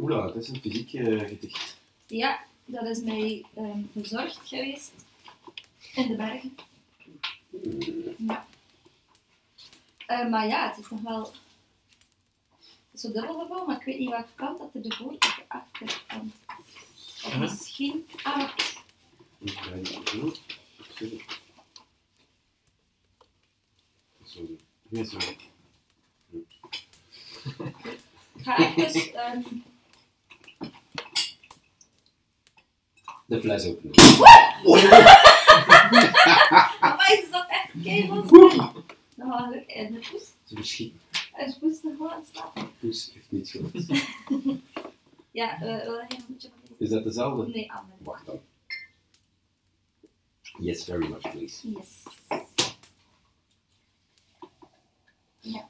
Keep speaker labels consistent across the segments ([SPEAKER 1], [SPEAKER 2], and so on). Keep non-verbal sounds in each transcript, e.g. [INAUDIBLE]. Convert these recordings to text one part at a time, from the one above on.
[SPEAKER 1] Oela, dat is een fysiek eh, gedicht.
[SPEAKER 2] Ja, dat is mij ehm, bezorgd geweest in de bergen. Ja. Eh, maar ja, het is nog wel zo dubbel gebouw, maar ik weet niet welke kant dat er de voor- of de achterkant. Of
[SPEAKER 1] Ja.
[SPEAKER 2] misschien. Ah, maar-
[SPEAKER 1] Ik ga niet zo. Sorry. Zo. Nee, zo.
[SPEAKER 2] ik ga even. ehm,
[SPEAKER 3] De fles openen.
[SPEAKER 2] Amai, ze zat echt keihard. Dan gaan we in eh, de poes.
[SPEAKER 3] Ze verschiet.
[SPEAKER 2] En ze poes nog wel aan het slapen.
[SPEAKER 3] Poes heeft niet gehoord.
[SPEAKER 2] Ja, eh, wil jij een beetje van deze?
[SPEAKER 3] Is dat dezelfde?
[SPEAKER 2] Nee, andere.
[SPEAKER 3] Wacht dan. Yes, very much, please.
[SPEAKER 2] Yes. Ja.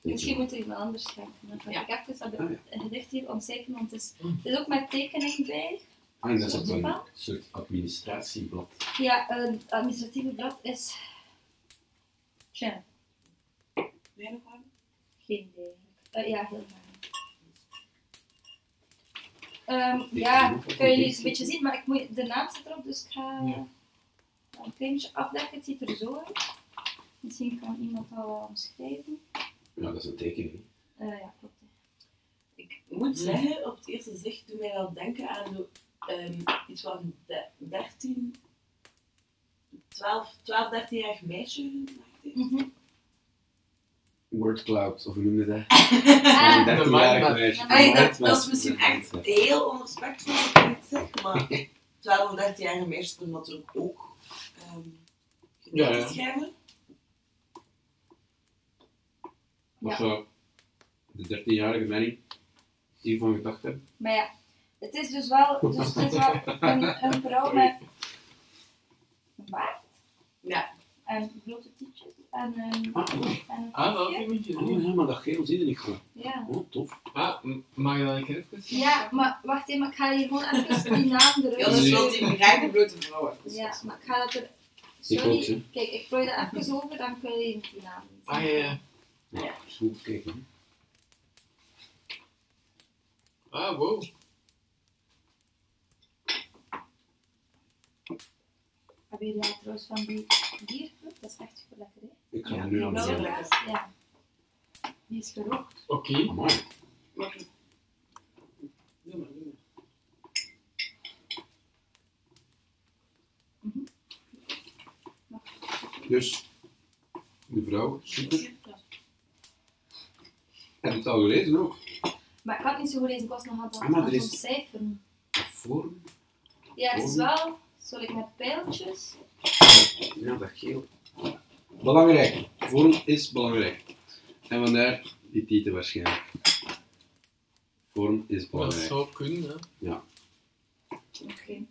[SPEAKER 3] you.
[SPEAKER 2] Misschien moeten we iemand anders kijken. Dan ga
[SPEAKER 4] Ja.
[SPEAKER 2] ik even dat
[SPEAKER 1] Ah, ja.
[SPEAKER 2] het gedicht hier ontcijferen, want het is, het is ook met tekening bij.
[SPEAKER 3] Ah, dat is op
[SPEAKER 2] Zo'n
[SPEAKER 3] een
[SPEAKER 2] vel?
[SPEAKER 3] soort administratieblad.
[SPEAKER 2] Ja, eh, het administratieve blad is... Tja,
[SPEAKER 4] Weinig warm.
[SPEAKER 2] geen idee. Eh, ja, heel graag. Ehm, ja, kun je het een beetje zien, maar ik moet, de naam zit erop, dus ik ga
[SPEAKER 1] Ja.
[SPEAKER 2] een klein beetje afdekken. Het ziet er zo uit. Misschien kan iemand dat wel omschrijven.
[SPEAKER 3] Ja, dat is een tekening.
[SPEAKER 2] Eh, ja, klopt.
[SPEAKER 4] Ik moet
[SPEAKER 1] Mm.
[SPEAKER 4] zeggen, op het eerste zicht doet mij wel denken aan zo, ehm, iets van de- 13, 12, 12 13-jarig meisje gemaakt heeft.
[SPEAKER 2] Mhm.
[SPEAKER 3] Wordcloud, of hoe noem je dat?
[SPEAKER 2] Ah.
[SPEAKER 3] Een dertienjarig
[SPEAKER 1] Mindmap.
[SPEAKER 3] meisje.
[SPEAKER 4] Allee,
[SPEAKER 3] Een
[SPEAKER 4] dat,
[SPEAKER 3] mindmap.
[SPEAKER 4] dat is misschien echt heel onrespectvol dat ik dit
[SPEAKER 1] [LAUGHS]
[SPEAKER 4] zeg, maar 12 of 13 jaar meisjes kunnen natuurlijk ook ehm
[SPEAKER 1] Ja, ja.
[SPEAKER 4] gedichten schrijven.
[SPEAKER 1] Of zou de 13-jarige mening hiervan gedacht hebben?
[SPEAKER 2] Maar ja, het is dus wel, dus het is wel een, een vrouw met een baard.
[SPEAKER 4] Ja.
[SPEAKER 2] En blote tietjes. En een,
[SPEAKER 1] Ah,
[SPEAKER 2] en een
[SPEAKER 5] Ah, dat
[SPEAKER 2] kopje.
[SPEAKER 5] moet je
[SPEAKER 1] oh,
[SPEAKER 5] doen.
[SPEAKER 1] ja, maar dat geel zie je niet goed.
[SPEAKER 2] Ja.
[SPEAKER 1] Oh, tof.
[SPEAKER 5] Ah, m- mag je dat een keer even zien?
[SPEAKER 2] Ja, maar wacht even, maar ik ga hier gewoon even die naam eruit.
[SPEAKER 4] Ja, dat
[SPEAKER 1] Nee.
[SPEAKER 4] is wel die graag de blote vrouw even
[SPEAKER 2] Ja, maar ik ga dat er...
[SPEAKER 1] ook,
[SPEAKER 2] Sorry,
[SPEAKER 1] hè.
[SPEAKER 2] kijk, ik plooi dat even over, dan kun je die naam niet zien.
[SPEAKER 5] Ah, ja, ja.
[SPEAKER 3] Ja, goed kijken.
[SPEAKER 5] Ah, wow.
[SPEAKER 2] Hebben jullie daar trouwens van die bierkruid? Dat is echt super lekker, hè?
[SPEAKER 3] Ik ga
[SPEAKER 4] Ja,
[SPEAKER 3] er nu aan
[SPEAKER 4] dat is
[SPEAKER 3] beginnen.
[SPEAKER 4] wel lekker.
[SPEAKER 2] Ja. Die is gerookt.
[SPEAKER 5] Oké.
[SPEAKER 3] Amai.
[SPEAKER 4] Makkelijk. Doe maar, doe maar.
[SPEAKER 1] Dus, de vrouw, super.
[SPEAKER 4] Ja.
[SPEAKER 1] Heb je het al gelezen ook?
[SPEAKER 2] Maar ik had niet zo gelezen, ik was nog aan het
[SPEAKER 1] Ah, maar er
[SPEAKER 2] aan het
[SPEAKER 1] is- Oh.
[SPEAKER 2] ontcijferen.
[SPEAKER 1] Voor?
[SPEAKER 2] Ja, het is wel. Zal ik met pijltjes?
[SPEAKER 1] Ja, dat geel. Belangrijk. Vorm is belangrijk. En vandaar die titel waarschijnlijk. Vorm is
[SPEAKER 3] Oh,
[SPEAKER 5] Dat
[SPEAKER 1] belangrijk.
[SPEAKER 5] zou kunnen, hè.
[SPEAKER 2] Oké.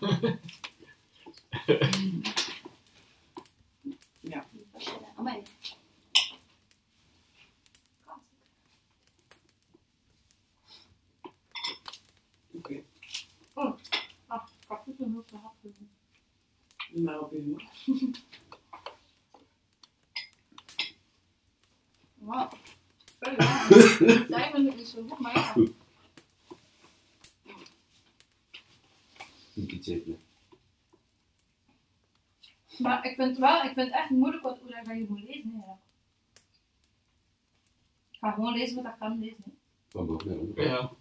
[SPEAKER 2] [LAUGHS]
[SPEAKER 4] Ja.
[SPEAKER 2] Amai.
[SPEAKER 4] Oké,
[SPEAKER 2] Ah, ik had goed een hoofd gehad.
[SPEAKER 4] doe maar op je hoor.
[SPEAKER 2] Wauw.
[SPEAKER 1] [LAUGHS]
[SPEAKER 2] Voilà. Diamond is zo goed, maar ja.
[SPEAKER 1] Niet iets even.
[SPEAKER 2] Maar ik vind, het wel, ik vind het echt moeilijk wat hoe dat je moet lezen. Eigenlijk. Ik ga gewoon lezen wat ik kan lezen. hè.
[SPEAKER 1] Van boven naar
[SPEAKER 5] Ja,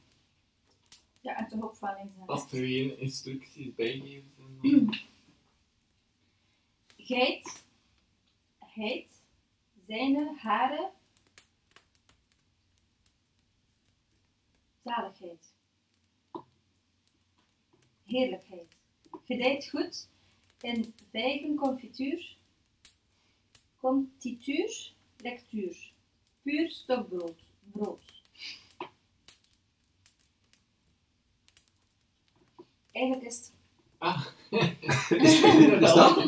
[SPEAKER 2] Ja, en toch ook van lezen. hè.
[SPEAKER 5] als er weer instructies bijgeven [COUGHS] zijn, dan-
[SPEAKER 2] Geit, heid, zijne, hare, zaligheid, heerlijkheid. Gedijt goed in vijgen confituur, contituur, lectuur, puur stokbrood, brood. Eigenlijk is het...
[SPEAKER 5] Ah.
[SPEAKER 1] Is dat?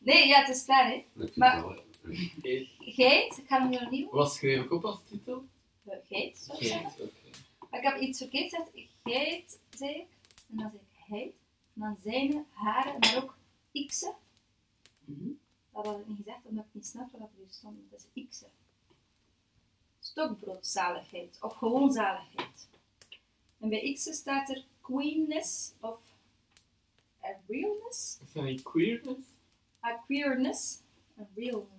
[SPEAKER 2] Nee, ja, het is klaar, hè.
[SPEAKER 1] Ik vind
[SPEAKER 2] Maar-
[SPEAKER 1] het wel-
[SPEAKER 2] Geit, ik ga hem hier opnieuw.
[SPEAKER 5] Wat schreef ik op als titel?
[SPEAKER 2] Geit, zou ik zeggen.
[SPEAKER 5] Geen. Oké.
[SPEAKER 2] Maar ik heb iets verkeerd gezegd. Geit, zei ik. En dan zei ik heid. En dan zijne, haren, en dan ook ikse.
[SPEAKER 4] Mhm.
[SPEAKER 2] Dat had ik niet gezegd, omdat ik niet snap wat er hier stond. Dat is ikse. stokbroodzaligheid of gewoon zaligheid. En bij X staat er queenness of a realness,
[SPEAKER 5] Is dat niet queerness?
[SPEAKER 2] a queerness, a realness.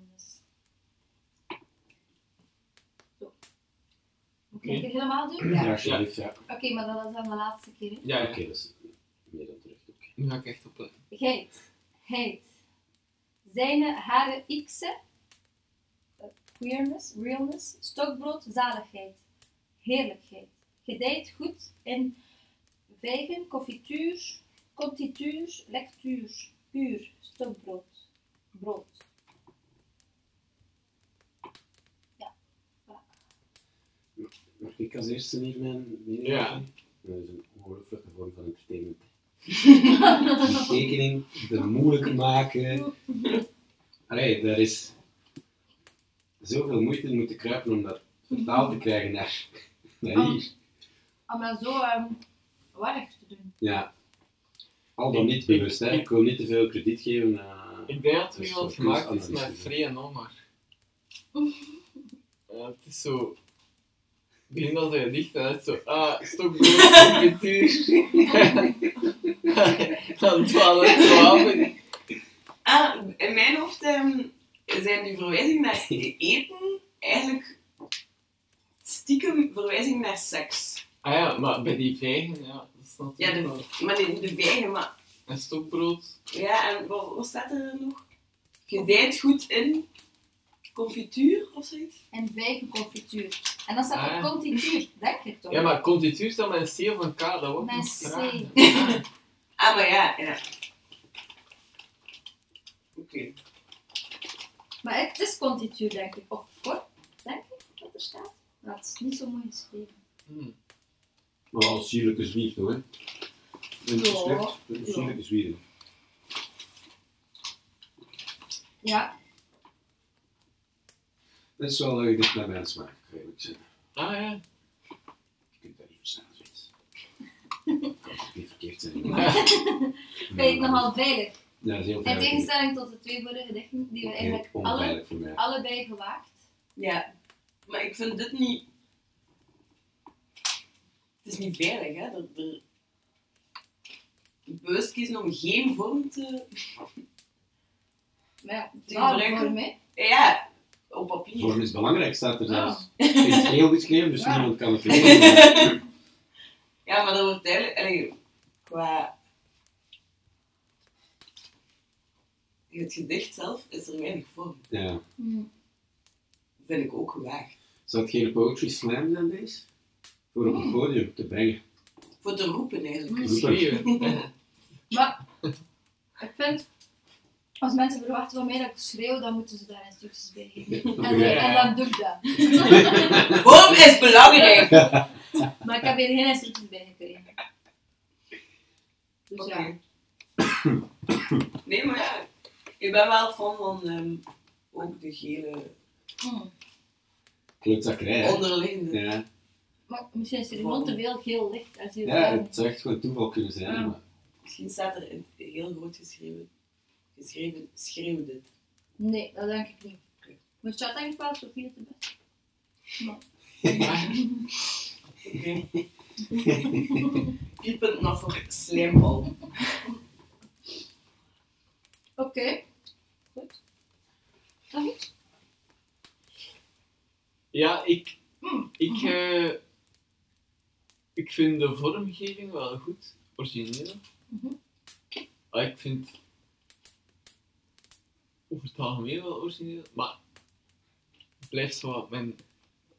[SPEAKER 2] Zo. Moet ik het helemaal doen? Ja.
[SPEAKER 3] Ja, alsjeblieft, ja.
[SPEAKER 2] Oké, maar dat was dan de laatste keer. hè.
[SPEAKER 5] Ja,
[SPEAKER 3] Oké,
[SPEAKER 5] ja.
[SPEAKER 3] dat is meer dan terecht. Oké.
[SPEAKER 5] Nu ga ik echt opletten.
[SPEAKER 2] Geit. Heid. Zijne, hare, ikse. eh, Queerness, realness. Stokbrood, zaligheid. Heerlijkheid. Gedijt goed en vijgen, confituur, contituur, lectuur. Puur, stokbrood. Brood.
[SPEAKER 3] Mag ik als eerste hier mijn mening
[SPEAKER 5] Ja.
[SPEAKER 3] geven? Dat is een ongelooflijke vorm van
[SPEAKER 2] [LAUGHS]
[SPEAKER 3] entertainment. Die tekening, de moeilijk maken. Allee, daar is zoveel moeite in moeten kruipen om dat vertaald te krijgen naar, naar hier.
[SPEAKER 2] Om dat zo ehm warrig te doen.
[SPEAKER 3] Ja. Al dan niet bewust, hè. Ik wil niet te veel krediet geven eh, aan...
[SPEAKER 5] Ik denk dat
[SPEAKER 3] Dat
[SPEAKER 5] er
[SPEAKER 3] is
[SPEAKER 5] iemand
[SPEAKER 3] zo'n
[SPEAKER 5] gemaakt is
[SPEAKER 3] kunstanalyse.
[SPEAKER 5] met Free en Omar. Ja, het is zo... Ik begin als hij dicht en het is zo... Ah, stokbrood, confituur. [LAUGHS] Dan 12, 12.
[SPEAKER 4] Ah, in mijn hoofd ehm, zijn die verwijzingen naar eten eigenlijk stiekem verwijzing naar seks.
[SPEAKER 5] Ah ja, maar bij die vijgen, ja. Dat is
[SPEAKER 4] Ja,
[SPEAKER 5] natuurlijk wel.
[SPEAKER 4] de, maar de, de vijgen, maar...
[SPEAKER 5] En stokbrood.
[SPEAKER 4] Ja, en wat, wat staat er nog? Gedijt goed in confituur of zoiets?
[SPEAKER 2] En vijgen, confituur. En dan staat er
[SPEAKER 5] Ah.
[SPEAKER 2] contituur. Denk ik toch?
[SPEAKER 5] Ja, maar confituur is dan met een C of een K, dat wordt
[SPEAKER 2] Met
[SPEAKER 5] nog
[SPEAKER 2] C.
[SPEAKER 5] vragen.
[SPEAKER 4] Ah, maar ja, ja. Oké.
[SPEAKER 2] Maar het is contituur, denk ik. Of kort, denk ik, dat er staat. Dat is niet zo moeilijk spelen.
[SPEAKER 5] Hm.
[SPEAKER 3] Maar als sierlijk is niet, hoor. Een
[SPEAKER 2] Ja.
[SPEAKER 3] slecht, een
[SPEAKER 2] Ja.
[SPEAKER 3] sierlijk is wie
[SPEAKER 2] Ja,
[SPEAKER 3] Dat is wel leuk, dit naar mijn smaak, ik weet ik zeggen.
[SPEAKER 5] Ah ja.
[SPEAKER 3] Ik kan dat niet verstaan, zoiets.
[SPEAKER 2] [LAUGHS]
[SPEAKER 3] kan het niet verkeerd zijn.
[SPEAKER 5] Ja.
[SPEAKER 2] vind ik nogal veilig.
[SPEAKER 3] Ja, dat is heel
[SPEAKER 2] In
[SPEAKER 3] fijn.
[SPEAKER 2] tegenstelling tot de twee vorige gedichten, die we eigenlijk
[SPEAKER 3] Heel
[SPEAKER 2] alle,
[SPEAKER 3] onveilig voor mij.
[SPEAKER 2] allebei gewaagd.
[SPEAKER 4] Ja, maar ik vind dit niet. Het is niet veilig, hè? Dat er... Bewust kiezen om geen vorm te.
[SPEAKER 2] Maar ja,
[SPEAKER 4] Die
[SPEAKER 2] waarom
[SPEAKER 4] gebruiken-
[SPEAKER 2] voor mij?
[SPEAKER 4] Ja, op papier.
[SPEAKER 3] Vorm is belangrijk, staat er
[SPEAKER 2] Ah.
[SPEAKER 3] zelfs. Het is heel geschreven, dus
[SPEAKER 2] Ja.
[SPEAKER 3] niemand kan het verkeerd
[SPEAKER 2] [LAUGHS]
[SPEAKER 4] Ja, maar dat wordt duidelijk. allee, qua. In het gedicht zelf is er weinig vorm.
[SPEAKER 3] Ja.
[SPEAKER 2] Hm.
[SPEAKER 4] Vind ik ook gewaagd.
[SPEAKER 3] Zou het geen poetry slam zijn, deze? Voor op
[SPEAKER 2] Oh.
[SPEAKER 3] het podium te brengen.
[SPEAKER 4] Voor te roepen
[SPEAKER 3] Mm.
[SPEAKER 4] eigenlijk.
[SPEAKER 5] Schreeuwen. Ja.
[SPEAKER 2] Maar ik vind, als mensen verwachten van mij dat ik schreeuw, dan moeten ze daar instructies bij
[SPEAKER 3] [LAUGHS]
[SPEAKER 2] geven. En, eh,
[SPEAKER 3] Ja.
[SPEAKER 2] en dan doe ik dat.
[SPEAKER 4] Vorm is belangrijk!
[SPEAKER 2] Maar ik heb hier geen instructies bij gekregen. Dus ja.
[SPEAKER 4] Oké. Nee, maar ja, ik ben wel fan van ehm, ook de gele
[SPEAKER 2] Hm.
[SPEAKER 3] Klootzakkerij, hè?
[SPEAKER 4] onderliggende.
[SPEAKER 3] Ja.
[SPEAKER 2] Maar misschien is er gewoon te veel geel licht. En zie je
[SPEAKER 3] ja,
[SPEAKER 2] wel.
[SPEAKER 3] het zou echt gewoon toeval kunnen zijn.
[SPEAKER 2] Ja.
[SPEAKER 3] Maar
[SPEAKER 4] Misschien staat er in het heel groot geschreven. Geschreven, schreeuw dit.
[SPEAKER 2] Nee, dat denk ik niet. Maar het staat denk ik wel Sofie het best.
[SPEAKER 4] Oké. Vier punten af voor slijmbal.
[SPEAKER 2] Oké. Goed. Nog iets?
[SPEAKER 5] Ja, ik... Ik, eh, ik vind de vormgeving wel goed. Origineel.
[SPEAKER 2] Mhm.
[SPEAKER 5] Ah, ik vind... Over het algemeen wel origineel. Maar... Het blijft zo wat mijn...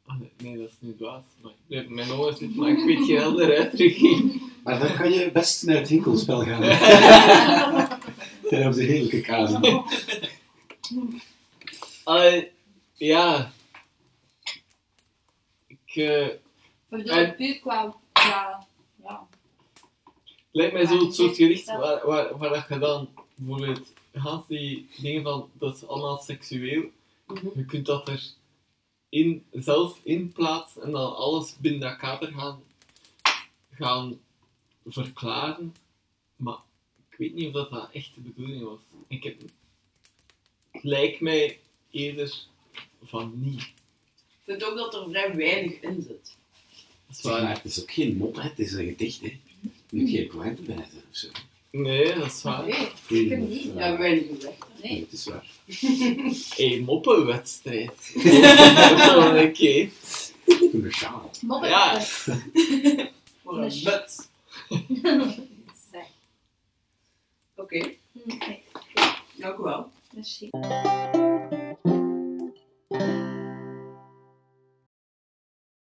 [SPEAKER 5] ah, Nee, dat is nu dwaas. Maar ik blijf mijn ogen zitten, maar ik weet geen andere uitdrukking.
[SPEAKER 3] maar dan kan je best naar het hinkelspel
[SPEAKER 2] [LAUGHS]
[SPEAKER 3] gaan. [LAUGHS] Daar hebben ze heerlijke kaas.
[SPEAKER 5] Ah, ja... Ik... eh,
[SPEAKER 2] We bedoelen puur qua... qua ja.
[SPEAKER 5] lijkt mij zo het soort gericht waar, waar, waar dat je dan bijvoorbeeld gaat die dingen van dat is allemaal seksueel. Je kunt dat er in, zelf in plaatsen en dan alles binnen dat kader gaan, gaan verklaren. Maar ik weet niet of dat, dat echt de bedoeling was. Ik heb, het lijkt mij eerder van niet.
[SPEAKER 4] Ik vind ook dat er vrij weinig in zit.
[SPEAKER 5] Dat is
[SPEAKER 3] Zeg maar,
[SPEAKER 5] waar.
[SPEAKER 3] het is ook geen mop, hè. het is een gedicht. Hè. Er moet geen poënten bij zijn of zo.
[SPEAKER 5] Nee, dat is waar.
[SPEAKER 4] Nee,
[SPEAKER 2] Ik heb niet.
[SPEAKER 4] ja, weinig gezegd.
[SPEAKER 3] Nee, het is waar.
[SPEAKER 5] Hey, moppenwedstrijd.
[SPEAKER 3] [LAUGHS]
[SPEAKER 5] Oké.
[SPEAKER 3] Ik ben sjaal.
[SPEAKER 2] Mobben.
[SPEAKER 5] Ja.
[SPEAKER 4] Voor een bed.
[SPEAKER 2] Zeg.
[SPEAKER 4] Oké,
[SPEAKER 2] Oké,
[SPEAKER 4] dank u wel.
[SPEAKER 2] merci.